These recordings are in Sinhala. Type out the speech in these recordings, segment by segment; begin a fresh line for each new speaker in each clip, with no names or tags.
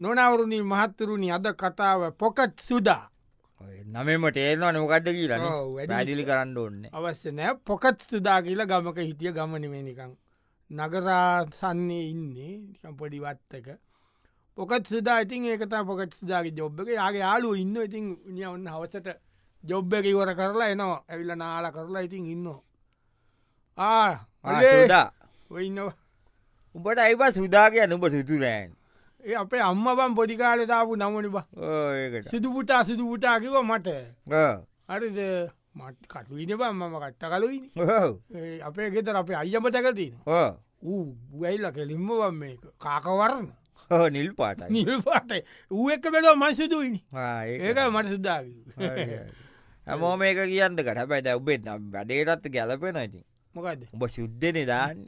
නොනවරුණී මහත්තුරුණි අද කතාව පොකට් සුදා
නමම තේරවා නොකක්ද කියලන
ඔව්, වැඩි
වැඩිලි කරන්න ඕන්න
අවශ්‍ය නෑ පොකට් සුදා කියලා ගමක හිටිය ගමනමනිකං. නගරාසන්නේ ඉන්නේ සම්පොඩිවත්තක පොකත් සුදා ඉතින් ඒකතා පොකට් සුදාගේ ජොබ් එක යාගේ යාලු ඉන්න ඉතින් නිය ඔන්න හවසට ජොබ් එක ඉවර කරලා එනවා ඇවිල්ල නාලා කරලා ඉතින් ඉන්නවා ආ
සුදා
ඉන්නවා
උඹට අයිබ සුදා කිය නුඹ සිතුරෑන්
ඒ අපේ අම්මබම් පොඩිකාලෙතාපු නමනි බ
ඒකට
සිදුපුටා සිදුපුටාකිව මට
ඔව්.
හරිද මට කටුයින බම් මම කට්ට කලුයින
ඔව්.
අපේ ගෙතර අපේ අයියම තැකතින
ඔව්.
ඌ ගයිල්ල කෙලින්ම බම් මේ කාකවරන්න
ඔව්, නිල් පාටයි
නිල්පාට ඌ එක්ක බෙලෝ මසිදුයිනි
ආ, ඒක.
ඒක මට සිද්ධාව
හැමෝ මේක කියන්න කට පැත ඔබේ නම් වැඩේටත් ගැලපෙන ඉතින්
මොකද
උඹ සුද්ධන දාන්න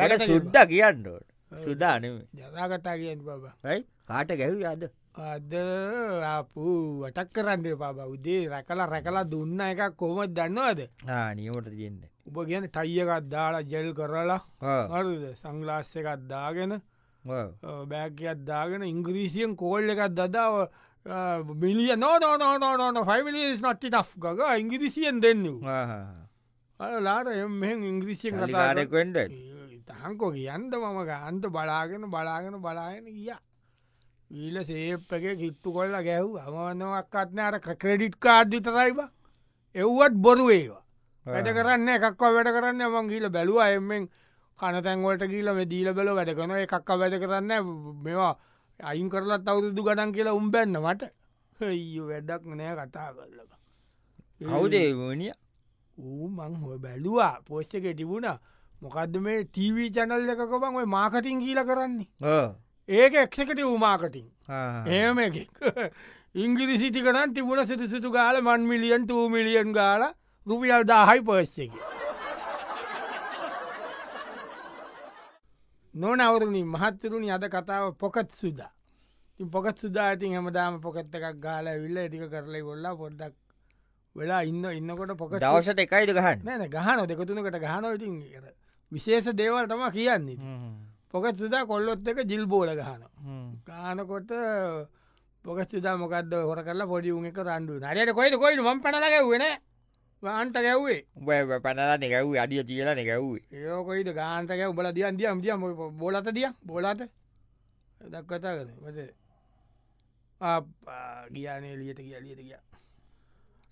ජරට
සුද්ද කියන්න ඕට සුදානම
ජතාගතා කියෙන් බබා
යි කාට ගැව් අද
අද අපපු වටක් කරන්න පාබ උදේ රැකල රැකලා දුන්න එක කොහොම දන්නවාද
නියමට තියන්න
උප කියන ටයියකත් දාලා ජෙල් කරලා හරුද සංගලාස්ස එකත් දාගෙන බෑකත් දාගෙන ඉංග්‍රීසියෙන් කෝල් එකත් දදාව බිලිය නෝනෝනෝනෝන ෆයිමිලිස් නට්ටි ට් ගග ඉංගිරිසියෙන් දෙන්නව ලාට එම ඉංග්‍රීසිය
ලිකාරෙකුෙන්ඩ
තහංකෝ කියන්ද මම ගන්ත බලාගෙන බලාගෙන බලාගෙන ගිය ඊල සේප්පක කිත්තු කොල්ල ගැව් අමනවක්කත්න අර ක්‍රෙඩිට් කාර්ධිත රයිබ එව්වත් බොරු ඒවා වැඩ කරන්න එකක් වැඩ කරන්න මං ගීල බැලුව එමෙන් කනතැන්වලට ගීල දීල බැල වැඩ කරන එකක් වැඩ කරන්න මෙවා අයින් කරලත් අවුරුදු ගඩන් කියලා උම්බැන්න මට ඒ වැඩක් නෑ කතා කරලබ
කවුදේමනිය
ඌ මං හො බැලවා පෝස්්ක තිබුණ මොකක්ද මේ ටීවී චැනල් එකකමන් ඔය මාකටින් කියීල කරන්නේ ඒක එක්සකට වූමාකටින් ඒම ඉංගිරිසි ටිකරන් තිබුණ සිතිසිතු ගාල මන් මිලියන් තූ මිලියන් ගාල රුපියල් දාහයි පර්ස්්ක නොනවරුණි මහත්තරුණි අද කතාව පොකත් සුදා ඉතින් පොකත් සුදා ඉතින් හමදාම පොකත් එකක් ගාල විල්ල එටික කරලයි ගොල්ලා පොඩ්ඩක් වෙලා ඉන්න ඉන්නකොට පොකත්
දවසට එකයිද ගහන්න
නෑන ගහන දෙකතුනකට ගහන ඉතින් අර විශේෂ දේවල් තම කියන්නේ පොකත් සුදා කොල්ලොත් එක ජිල් බෝල ගහන ගානකොට පොකත් සුදා මොකක්ද හොර කරලා පොඩි උන් එක රන්ඩු නරයට කොයිට කොයිට ම පනල ගැවෙන ගාන්ට ගැව්වේ
උබ පනලා නිගව් අඩිය කියලා නිගව්ේ
ඒකොයිට ගාන්ට ගැව් බල දියන් දියම් දියම් බොලත දිය බොලත දක්කතා කර වද ගියානේ ලියට කිය ලියට කිය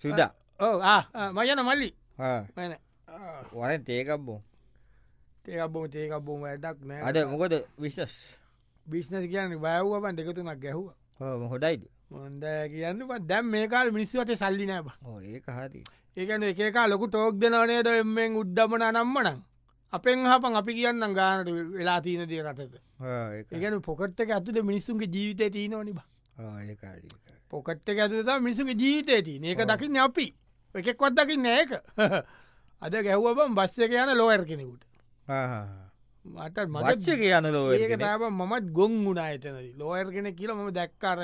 සුදා
ඕ මයන මල්ලි මන
වන තේකක්බෝ
තේකබොම තේකබොම ඇදක් නෑ
අද මොකද විශස්
බිස්්නස් කියන්න බයව්වන් දෙකතුනක් ගැහුව
හොඩයිද
හොඳ කියන්න පත් දැම් මේකාල් මිනිස්සුවට සල්ලි නෑබ
ඒක හරි
ඒකන එකක ලොකු ටෝක් දෙනවනේද එෙන් උද්දමන නම්මනම් අපෙන් හපන් අපි කියන්න ගානට වෙලා තියන දේ රටත එකන පොකට් එක ඇතුද මිනිස්සුන්ගේ ජීවිතය තියන නිබ පොකට් එක ඇතුත මිනිසුගේ ජීවිතය තින ඒක දකින්න අපි එකෙක්වත් දකි නෑක අද ගැහ්වබම් බස්ස එක යන ලෝයර් කෙනෙකුට මට මගච්ච
මච්ච කියන
ඒක
ලෝ
තම මමත් ගොන් වුණා එතනද ලෝයර් කෙන කියල ම දැක්කාර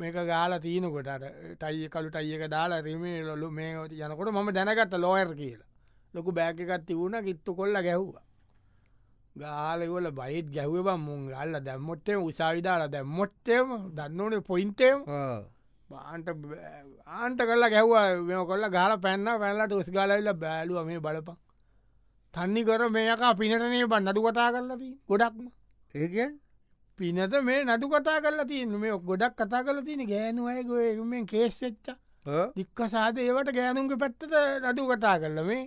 මේක ගාලා තියනකොට අර ටයි කලු ටයික දාලා රීමේ ලොලු මේ ඔය යනකොට මම දැනගත්ත ලෝයර් කියලා ලොකු බෑකකත් තිබුණ කිත්තු කොල්ල ගැහ්වා ගාලවල බයිත් ගැහව මුන් ගල්ල දැම්මොත්තේ උසාවිදාලා දැම්මොත්තේම දන්නවනේ පොයින්තේම බාන්ට බෑ- ආන්ට කල්ලා ගැව්වා මෙ කොල්ල ගාල පැන්න පැල්ලට උස් ගලල්ල බෑලුව මේ බලපක් තන්නි කර මේකා පිනටනේ බන් නඩු කතා කරලදී ගොඩක්ම
ඒ
පිනත මේ නඩු කතා කරලා තියන මේ ගොඩක් කතා කල තියන ගෑනු අයගොෙන් කේස්සෙච්ච දික්ක සාද ඒවට ගෑනුන්ගේ පැත්තද නඩු කතා කරල මේ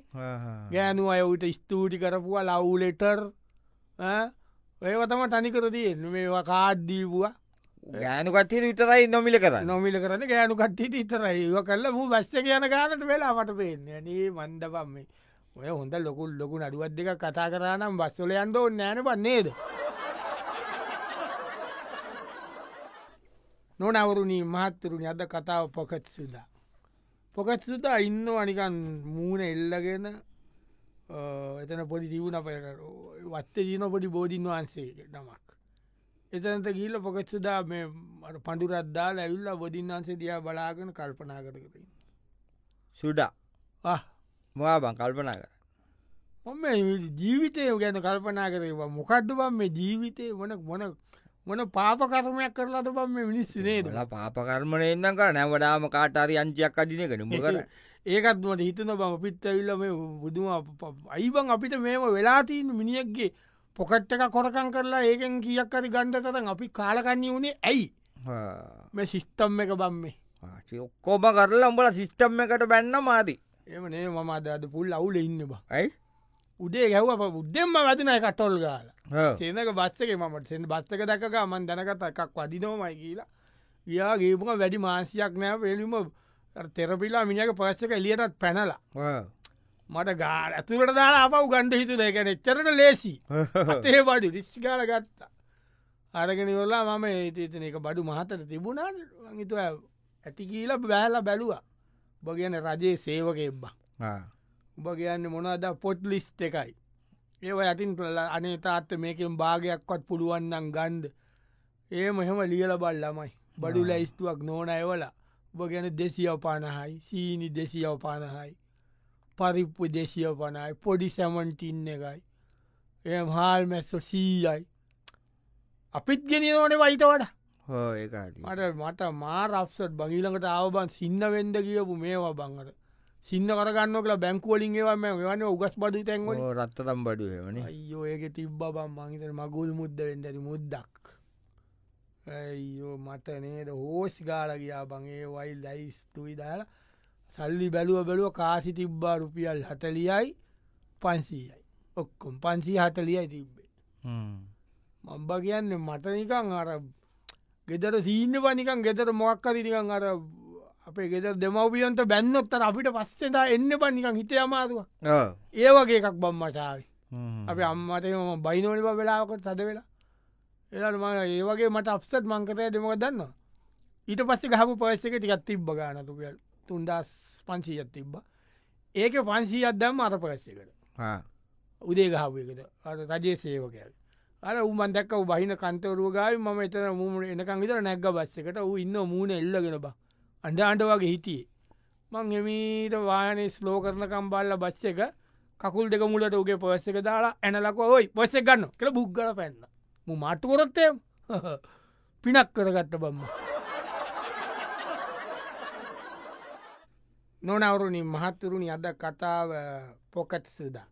ගෑනු අයවුට ස්තූටි කරපුවා ලවුලෙටර් ඔයවතම තනිකර තියෙන් මේවා කාඩ්දීපුවා
ගෑනු කත්තිය විතරයි නොමිල කරන්න
නොමිල කරන ගෑනු කට්ටිට ඉතරයි ඒව කල්ල මූ බස්ස කියන ගානට වෙලා මට පේන්නේ නේ මන්ඩපම් මේ ඔය හොඳ ලොකුල් ලොකු නඩුවත් දෙක කතා කරනම් බස්සොල යන්ද නෑන පන්නේද නොනවරුණී මහත්තුරුණ අද කතාව පොකත් සුදා පොකත් සුදා ඉන්න අනිකන් මූුණ එල්ලගෙන අ, එතන පොඩි දිවුණ පයකර වත්තේ දීන පොඩි බෝධීන් වහන්සේ නමක් එතනට ගිල්ල පොකත් සුදා මේ පඩුරද්දා ඇවිල්ල බොධීන් වහන්සේ දිය බලාගෙන කල්පනා කරකරින්
සුඩා
ආහ
මවා බං කල්පනා කර
මම ජීවිතය ගැන කල්පනා කරේවා මොකක්ද බම් මේ ජීවිතය වන මොන මොන පාප කරමයක් කරලාද බම් මේ මිනිස් නේද
ලා පාපකර්මන එන්නම් කර නැවටාම කාටාරි අංචයක් අඩිනකට මුකර
ඒකත් මට හිතන බම පිත් ඇවිල්ල මේ බුදුම අයිබං අපිට මේම වෙලාතිීන් මිනිියක්ගේ පොකට් එක කොරකං කරලා ඒකෙන් කියක් කරි ගණ්ඩ තරන් අපි කාලකන්නේ වුණේ ඇයි මේ සිිස්තම් එක බම්මේ
ඔක්කෝම කරලා උඹල සිිස්ටම් එකට බැන්න මාදී
එම නේ මම අද අද පුල් අවුල ඉන්න බා
ඇයි
උදේ ගැව්ව අප බුද්ධෙම වැදින කටොල් ගාල සේනක බස්සක මට සෙන් බස්සක දැකක මන් දැනකත එකක් වදිනෝමයි කියලා යා ගේපුක වැඩි මාසියක් නෑ පෙලීම තෙරපිලා මිනික පස්සක එලියටත් පැනලා මට ගා ඇතුරට දාලා අප උගන්ඩ හිතු දෙකැන එච්චරට ලේසි තේ බඩු රිස්්කාල ගත්තා අරගෙන වෙල්ලා මම ඒතන එක බඩු මහතට තිබුණා ඉතු ඇති කියලා බෑලා බැලුවා බ කියන රජයේ සේවක එබ්බා උබ කියන්න මොනද පොට් ලිස්් එකයි ඒව ඇතින් පල අනේ තාත්ත මේකෙන් භාගයක්වත් පුළුවන්නම් ගන්ධ ඒ මෙහෙම ලියල බල් ළමයි බඩුල ස්තුවක් නෝන එවල උබ ගැන දෙසියව පණහයි සීනි දෙසියව පණහයි පරිප්පු දෙසිය පණයි පොඩි සැමන්ටින්න එකයි එ හාල් මැස්සො සීයයි අපිත් ගෙන ඕනේ වයිත වඩ මට මට මා රක්සත් බගීලකට ආවබන් සින්න වෙන්ඩ කියපු මේවා බංගට සින්න කරගන්න කලා බැංකුවලින් ඒවම වන උගස් බදු තැන්වල
රත්ත තම් බඩුවන
අයෝ ඒක තිබ්බ බම් මහිත මගුල් මුද්ද වෙන්ඩට මුද්දක් ඇයෝ මත නේද හෝස් ගාලගයා බගේ වයි ලයිස්තුයි දාලා සල්ලි බැලුව බැලුව කාසි තිබ්බා රුපියල් හතලියයි පන්සීයයි ඔක්කොම් පන්සී හතලියයි තිබ්බේ මම්බ කියන්න මතනිකං අර ගෙදර සීන්න පනිකන් ගෙතර මොක්කරිනිකං අර අපේ ගෙදර දෙමවපියන්ට බැන්නොත්තර අපිට පස්සෙදා එන්න පනිකං හිත අමාරුව ඒ වගේ එකක් බම්මචාවේ අපේ අම්මට ම බයිනෝලිව වෙලාවකට සද වෙලා එලා ම ඒවගේ මට අපසත් මංකතය දෙමක දන්න ඊට පස්සේ ගහපු පස්ස එක ටිකත් තිබ්බ ගානතුක තුන්දස් පංචීයත් තිබ්බ ඒක පන්සී අදදම් අත පස්සකට උදේ ගහපුකට අ රජයේ සේවකැල් අර උමන් දැක්ක බහින කන්තවරුවගයි ම එතන මුණ එනකං විතර නැග්ග බස්සකට ූ ඉන්න මූුණ එල්ලගෙන බා අන්ඩ අන්ඩ වගේ හිටියේ මං එමීට වානේ ස්ලෝ කරනකම් බල්ල බස්ස එක කකුල් දෙක මුලට උගේ පොස්ස එක දාලා ඇනලක ඔයි පොස්ස ගන්න කළ බුද්ගල පැන්න මු මටකොරොත්තය පිනක් කරගත්ත බම්ම නොනවරුණින් මහත්තුරුණි අද කතාව පොකට් සුදා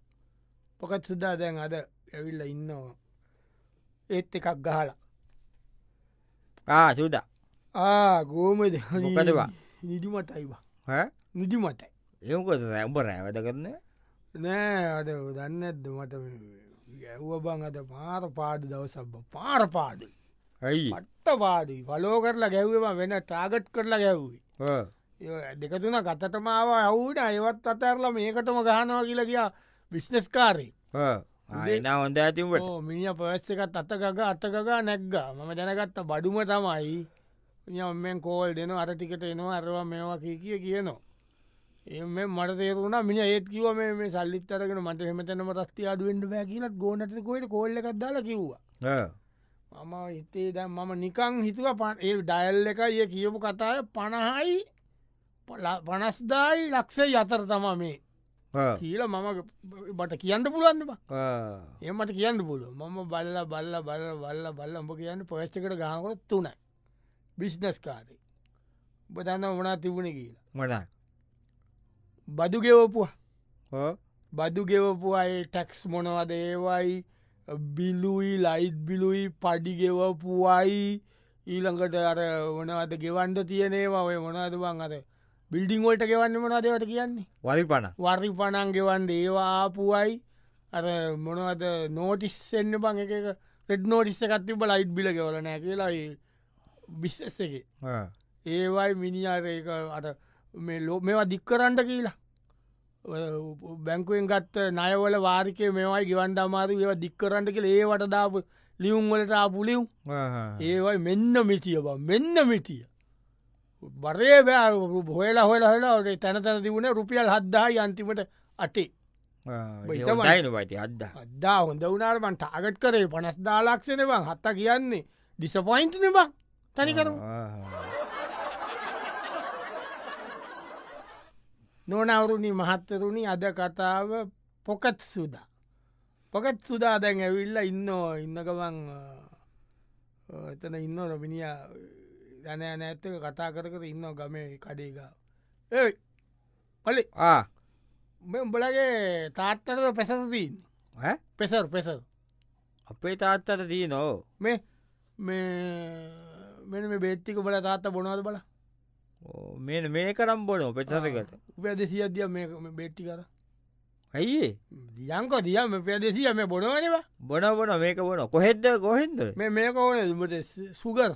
පොකත් සුදා දැන් අද ඇවිල්ල ඉන්නවා ඒත් එකක් ගහලා
සුද
ආ ගෝම
මොකදවා?
නිදිමතයිවා නිදිමතයි
ඒකොත ඇඹ රෑවැද කරන
නෑ අද දන්න ඇද මට ගැව්ව බං අද පාර පාඩු දවසබ පාර පාඩුයි
ඇයි
පට්ට පාඩුයි පලෝ කරලා ගැව්වම වෙන ටාගට් කරලා ගැව්වේ
ආ.
ඒ දෙකතුන කතටමාව ඇවුට අයවත් අතරලා මේකටම ගහනවා කියලා කියා විශ්නස් කාරී
ආ. ආ, එනා හොඳ ඇතිවට
මිනිිය පවස්ස එකත් අතකග අතකගා නැක්ගා මම දැනගත්ත බඩුම තමයි මෙන් කෝල් දෙන අර ටිකට එනවා අරවා මේවා කිය කිය කියනවා එ මට තේරුණ මිනි ඒත් කිව මේ සල්ලිත් අරගෙන මට එමතනම රස්ති අඩුවෙන්ට බෑ කියලත් ගෝනට කොට කෝල්ල එකක් දාලා කිව්වා මම හිතේ දැ මම නිකං හිතුව පන් ඒ ඩයල් එක ඒ කියපු කතාය පණහයි පනස්දායි ලක්ෂේ අතර තම මේ කියල මම බට කියන්න පුළුවන්නවා එමට කියන්න පුල මම බල්ල බල්ල බල බල්ල බල්ල උඹ කියන්න පොච්චකට ගහකොත් තුනයි බිස්්නස් කාරය බදන්න ඕනා තිබුණ කියලා
මට
බදු ගෙවපුවා බදු ගෙවපුවායි ටැක්ස් මොනවද ඒවයි බිලුයි ලයිත් බිලුයි පඩි ගෙවපුවායි ඊළඟට අර වනවද ගෙවන්ඩ තියනේවා ඔය මොනදවන් අද බිල්ඩිං වොල්ට ගෙවන්න මොනදවට කියන්නේ
වරි පණ
වර්රි පණන්ගෙවන් ඒවාපුුවයි අර මොනවද නෝටිස්සෙන්න්න බං එක රෙඩ් නෝටිස්ස කත්තිබ ලයිට් බිල ගවලනෑ කියලා බිස්සස එක ඒවයි මිනිියාරක අට මේ ලෝ මේවා දික්කරන්ට කියලා ඔය බැංකුවෙන් ගත්ත නයවල වාරිකය මේවයි ගිවන්ඩ අමාරු ඒවා දික්කරන්ට කියල ඒවට දාපු ලියුම්වලට පුලියුම් ඒවයි මෙන්න මිටිය බ මෙන්න මිටිය බරේ බෑ හොලා හොලා හලා ඔේ තැන තැන තිබුණ රුපියල් හද්දා අන්තිමට අටේ ඉතමයි.
යින පයිති අද්ද
අදා හොඳ වනාටමන් ටාගට් කරේ පනස් දාලාක්ෂණ බං හත්ත කියන්නේ ඩිසපොයින්ට්න බං තනිකරු නොනවරුණි මහත්තරුණි අද කතාව පොකත් සුදා පොකත් සුදා දැන් ඇවිල්ල ඉන්න ඉන්නකවන් ඔව්, එතන ඉන්න රොබිනිය දැන නැත්තක කතා කරකර ඉන්න ගමේ කඩේක ඒ පලි
ආ
මෙ උඹලගේ තාත්තරද පැසසතින්
ඈ?
පෙසර් පෙසර්
අපේ තාත්තට දී නෝ
මේ මේ මෙ මේ බේත්තික බල තාත්ත බොනවද බල
මෙ මේ කරම් බොන පෙතරකට
උපදෙසිය දිය මේ බේට්ටි කර
ඇයිඒ
දියංක දියම පදෙසිය මේ බොනවනවා
බොන බොන මේක බොන කොහෙද කොහෙන්ද
මේ මේකවන දුට සුගර්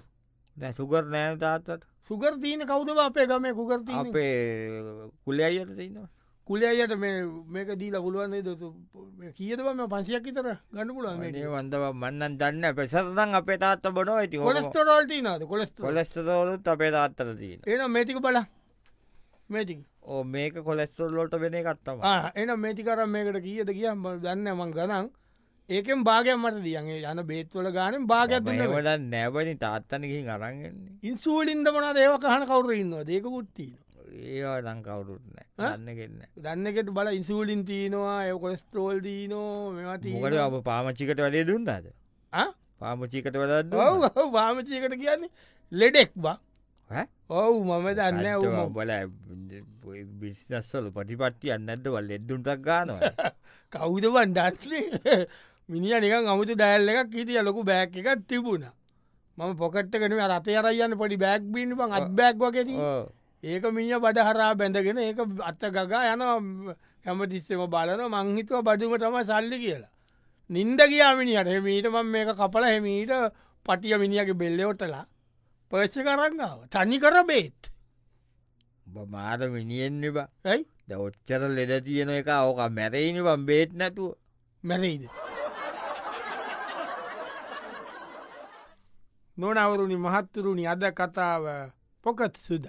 දැ සුකර නෑ තාත්තට
සුගර් තියන කවුද අපේ ගම කුගර්තිය
අපේ කුලේ අයියට තින්නවා
කුලේ අයට මේ මේක දීල පුළුවන්න්නේ දතු කියදවම පන්සියක් විතර ගන්න පුළුවන්
මේ වන්දව මන්නන් දන්න පෙසරදන් අපේ තාත්ත බොනෝ ඇති හො
කොලස්ටරෝල්ටී නද කොලස්ට
කොලෙස්තදෝලුත් අපේ තාත්තර තියෙන
එන මේටික බල මේටි
ඕ මේක කොලෙස්තුල්ලොට වෙන කත්තම
එන මේටිකර මේකට කියද කිය ම දන්න මං ගනන් ඒකෙන් භාගයක් මට දියන්ගේ යන බේත්වල ගානෙන් භාගයක්
මේවල නැවනි තාත්තනකින් අරන්ගන්නේ
ඉන්සූලින්ද මන ඒව කහන කවුර ඉන්නවා දේක ගුත්තිීන
ඒවා ලංකවුරුත් නෑ දන්නගෙන්න
දන්නකට බල ඉන්සූලින් තියනවා ඒ කොලස්ට්‍රෝල් දීනෝ මෙමති
මොකට අප පාමචිකට වදේ දුන්නාද පාමචිකට වදත්
ඔව වාමචයකට කියන්නේ ලෙඩෙක් බා
ඈ?
ඔවු මම දන්න ඔ
බල බිස්නස්සල පටිපට්ටි අන්නද වල් එද්දුන්ටක් ගානවා
කෞදවන් දත්ලේ මිනිිය නිකන් අමුතු දැල් එකක් හිටිය ලොකු බෑක් එකක් තිබුණ මම පොකට්කන රතේ අරයන්න පොඩි බෑක් බින්න පන් අත් බෑක් වගේෙති
ඕ.
ඒක මිනිිය බඩහරා බැඳගෙන ඒක අත්ත ගගා යන හැම තිස්සම බලන මංහිතුව බදුම තම සල්ලි කියලා. නින්ද ගියාමිනිට හෙමීට මං මේක කපල හෙමීට පටිය මිනිියගේ බෙල්ලෙවටලා පර්ච්ච කරන්නාව තනි කර බේත්
බ මාර මිනිියෙන් බා
ඇයි
දෞච්චර ලෙද තියෙන එක ඕක මැරයිනි බම් බේත් නැතුව
මැරයිද නොනවරුණි මහත්තුරුණි අද කතාව පොකත් සුද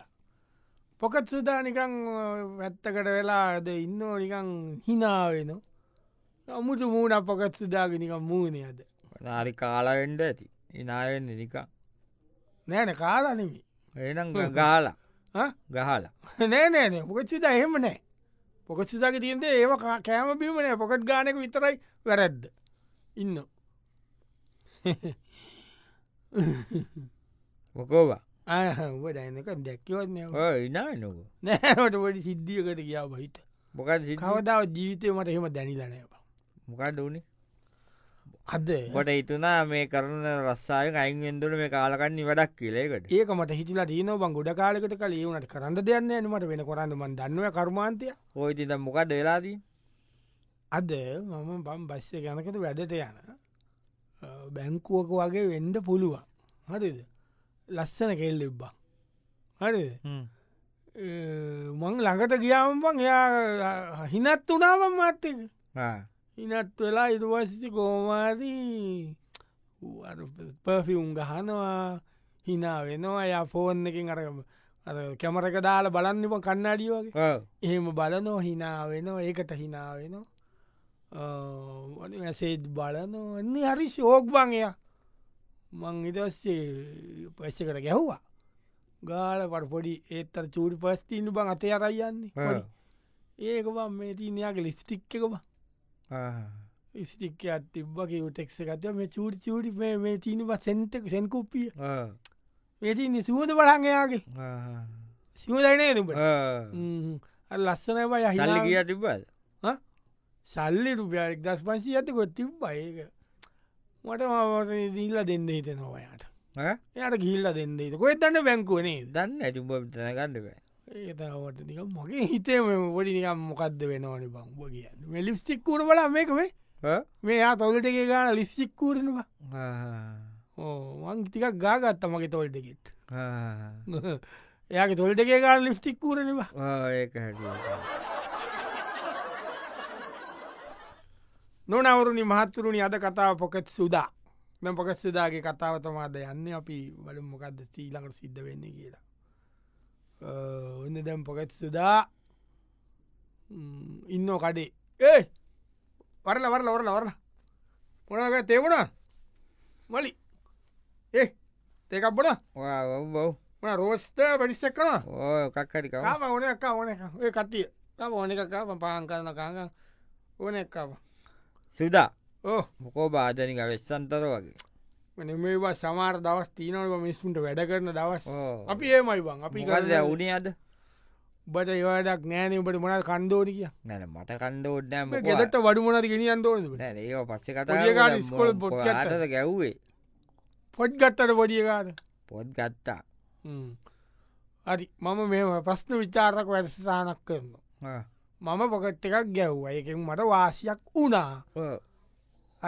පොකත් සුදා නිකං වැත්තකට වෙලාද ඉන්නෝ නිකං හිනාවෙන අමුතු මූුණ පොකත් සුදාගෙනක මූුණය අද
නාරි කාලාවෙන්ඩ ඇති ඉනාවෙන්න නිකා
නෑන කාලනෙමි
එනම් ගාලා ගහලා
නෑනෑන පොකත් සිද එහෙම නෑ පොකත් සිදක තියන්ද ඒ කෑම බිමනෑ පොකට් ගානක විතරයි වැරැද්ද ඉන්න
මොකෝවා
ආහ ඩයිනක දැක්කවත්නෑ
ඉනා නොක
නෑට පොඩි සිද්ධියකට කියාව හිත
මොකද
කවදාව ජීවිතය මට එහෙම දැනිලනය
මොකඩ වනේ
අද
ොට හිතුනා මේ කරන රස්සාය අයින් එෙන්දුර මේ කාලකන්න වැඩක් කියලේකට
ඒක මට හිතලා දීනෝබං ගොඩ කාලෙකට කල ඒවුනට කරන්න දෙයන්න නමට වෙන කොරන්න මන් දන්නව කර්මාන්තය
ඔයිතිත මොකක් දෙලාදී
අද මම බම් බස්ස ගැනකට වැඩට යන අ, බැංකුවක වගේ වෙන්ඩ පුළුවන් හරිද ලස්සන කෙල් එබ්බා හරි මං ළඟට ගියාවම්බන් එයා හිනත් වනාවම් මත්තක ඉනත් වෙලා ඉතුවසිසි කෝමාදී පෆිවුම් ගහනවා හිනා වෙනවා ය ෆෝන් එකින් අරගම කැමරක දාල බලන්නම කන්නාඩිය වගේ එහෙම බලනෝ හිනා වෙනවා ඒකට හිනා වෙනවා සේත් බලනෝ එන්නේ හරි ශෝක් බංය මං ඉදස්සේ පශ්ෂ කර ගැහ්වා ගාල පට පොඩි ඒත්තර චූඩි පස්තිීන්න බං අතේ අරයි යන්නේ පොඩි. ඒක බම් මේ තිීනයාගේ ලිස්ටික් එකම ස්ටික්ක අතිබගේ උටෙක්ස එකත මේ චූඩි චූඩි මේ- මේ තිීනව සෙන්තක සැන්කුප්පිය වෙතින්නේ සුවද බලන්ගයාගේ සිවදයිනේ දුට ලස්සනව
ල්ල
යහි
කිය තිබ්බද
සල්ලි රුපියයක් දස් පන්සි ඇත කොත් තිබ්බයක මට මවස දීල්ල දෙන්න හිත නොවයාට එයට ගිල්ල දෙන්නේට කොත් දන්න බැංකුවනේ
දන්න ඇතිබ තනගන්නක
ඒතවට නික මගේ හිතේ පොඩි නිකම් මොකක්ද වෙනවන බංව කියන්න ලිස්්ටික්කූර බල මේකවේ මේයා තොලට එක ගාන ලිස්්ටික්කූරනවා ඕ මංතිකක් ගාගත්ත මගේ තොල්ට එකෙත් එයාගේ තොල්ට එකේ ගාන ලිස්්ටික් කූරනවා
ඒක හැටියට.
නොනවරුණි මහත්තුරුණි අද කතාව පොකත් සුදා මෙ පොකත් සුදාගේ කතාව තමාද යන්න අපි වල මොකක්ද සීලකට සිද්ධ වෙන්න කියලා අ, ඔන්න දැම් පොකත් සුදා ම්, ඉන්නෝ කඩේ ඒ වරල වරල වරල වරල මොනක තෙවුණා මලි ඒ තේකක් බොඩ
ඔවා ඔව් බව්.
මන රෝස්ත පඩිස්සක් කනවා
ඕ කක්කරි කව
කාම ඕන එකක් ඕන එකක්. ඔය කට්ටිය තම ඕන එකකා පාන් කරන කාග ඕන එක්කාව
සුදා
ඕ Oh,
මොකෝ බාධනික වෙස්සන්තර වගේ
මෙවා සමාර දවස් තිීනව මිස්කුන්ට වැඩ කරන දවස්
ඕ.
අපි ඒමයි බං අපි
මොකද උනේ අද
බට ඒවාදක් නෑන උට මොන කන්දෝනික
නැන මට කන්ද ඔඩ්ඩෑම
ගෙදට වඩු මොනද ගෙනියන් දෝනට
ඒ පස්සේ
පොඩි කාලේ ඉස්කෝලේ පොත් ගත්තා.
කතාට ගැව්වේ
පොඩ් ගත්තට පොඩියකාර
පොත් ගත්තා
හරි මම මෙම ප්‍රශ්න විචාරක වැරසානක් කරන
ආ.
මම පොකට් එකක් ගැව්වා එකෙන් මට වාසියක් වුණා
ඔව්.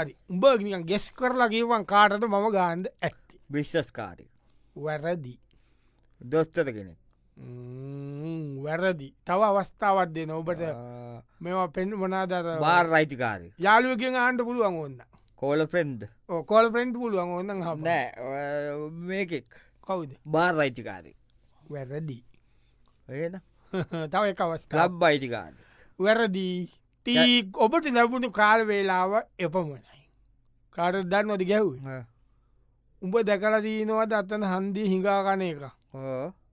හරි උඹ නිකන් ගෙස් කරලා ගේවන් කාටට මම ගාන්ද ඇත්ති
බිස්සස් කාරය
වැරදි
දොස්තර කෙනෙක්
ම්ම්, වැරදි තව අවස්ථාවත් දෙන ඔබට
ආ.
මෙවා පෙන් මනාදර
බාර් රයිතිකාරය
යාලුවකෙන් ආන්ට පුළුවන් ඔන්න
කෝල ෆෙන්ද
කෝල් පෙන්ට් පුළුවන් ඔන්න හම
නෑ ඔය මේකෙක්
කවුද
බාර් රයිතිකාරය
වැරදි
ඒන
තව එක අවස්ථාව
ලබ් අයිතිකාර
වැරදී තී ඔබට ලැබුණු කාලවේලාව එපමනයි කාට දන්නවද ගැව් උඹ දැකල දීනවත් අත්තන හන්දී හිඟාකන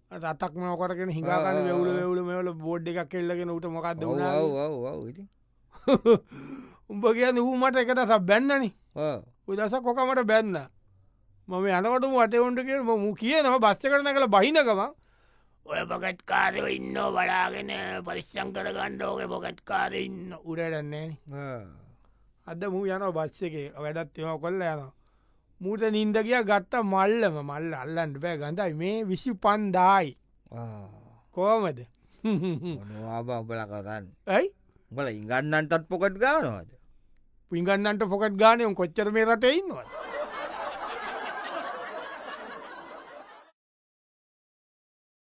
එක අතක් මෝකරගෙන හිඟාකන
ආ.
වැවුල වැවුල මෙවල බෝඩ් එකක් කෙල්ලගෙන උට මොකක්ද වුණා උඹ කියන්න හූමට එක දස බැන්නනි උදස කොකමට බැන්න මම යනකට වටවුන්ට කිය මු කියනම බස්්ච කරන කළ බහිනකම ඔය පොකට්කාරයෝ ඉන්න බලාගෙන පරිස්සං කරගන්න ඕක පොකට්කාර ඉන්න උඩටන්නේ අද මූ යන බස්්ච එක වැඩත් එම කොල්ල යන මූට නින්ද කිය ගත්ත මල්ලම මල්ල අල්ලන්ට පෑ ගඳයි මේ විසි පන්දායි කෝමද
මොනවාබ උබල කතන්න
ඇයි
උබල ඉගන්නන්ටත් පොකට් ගානවාද
පිගන්නට පොකට් ගානයම් කොච්චර මේ රටඉන්නවා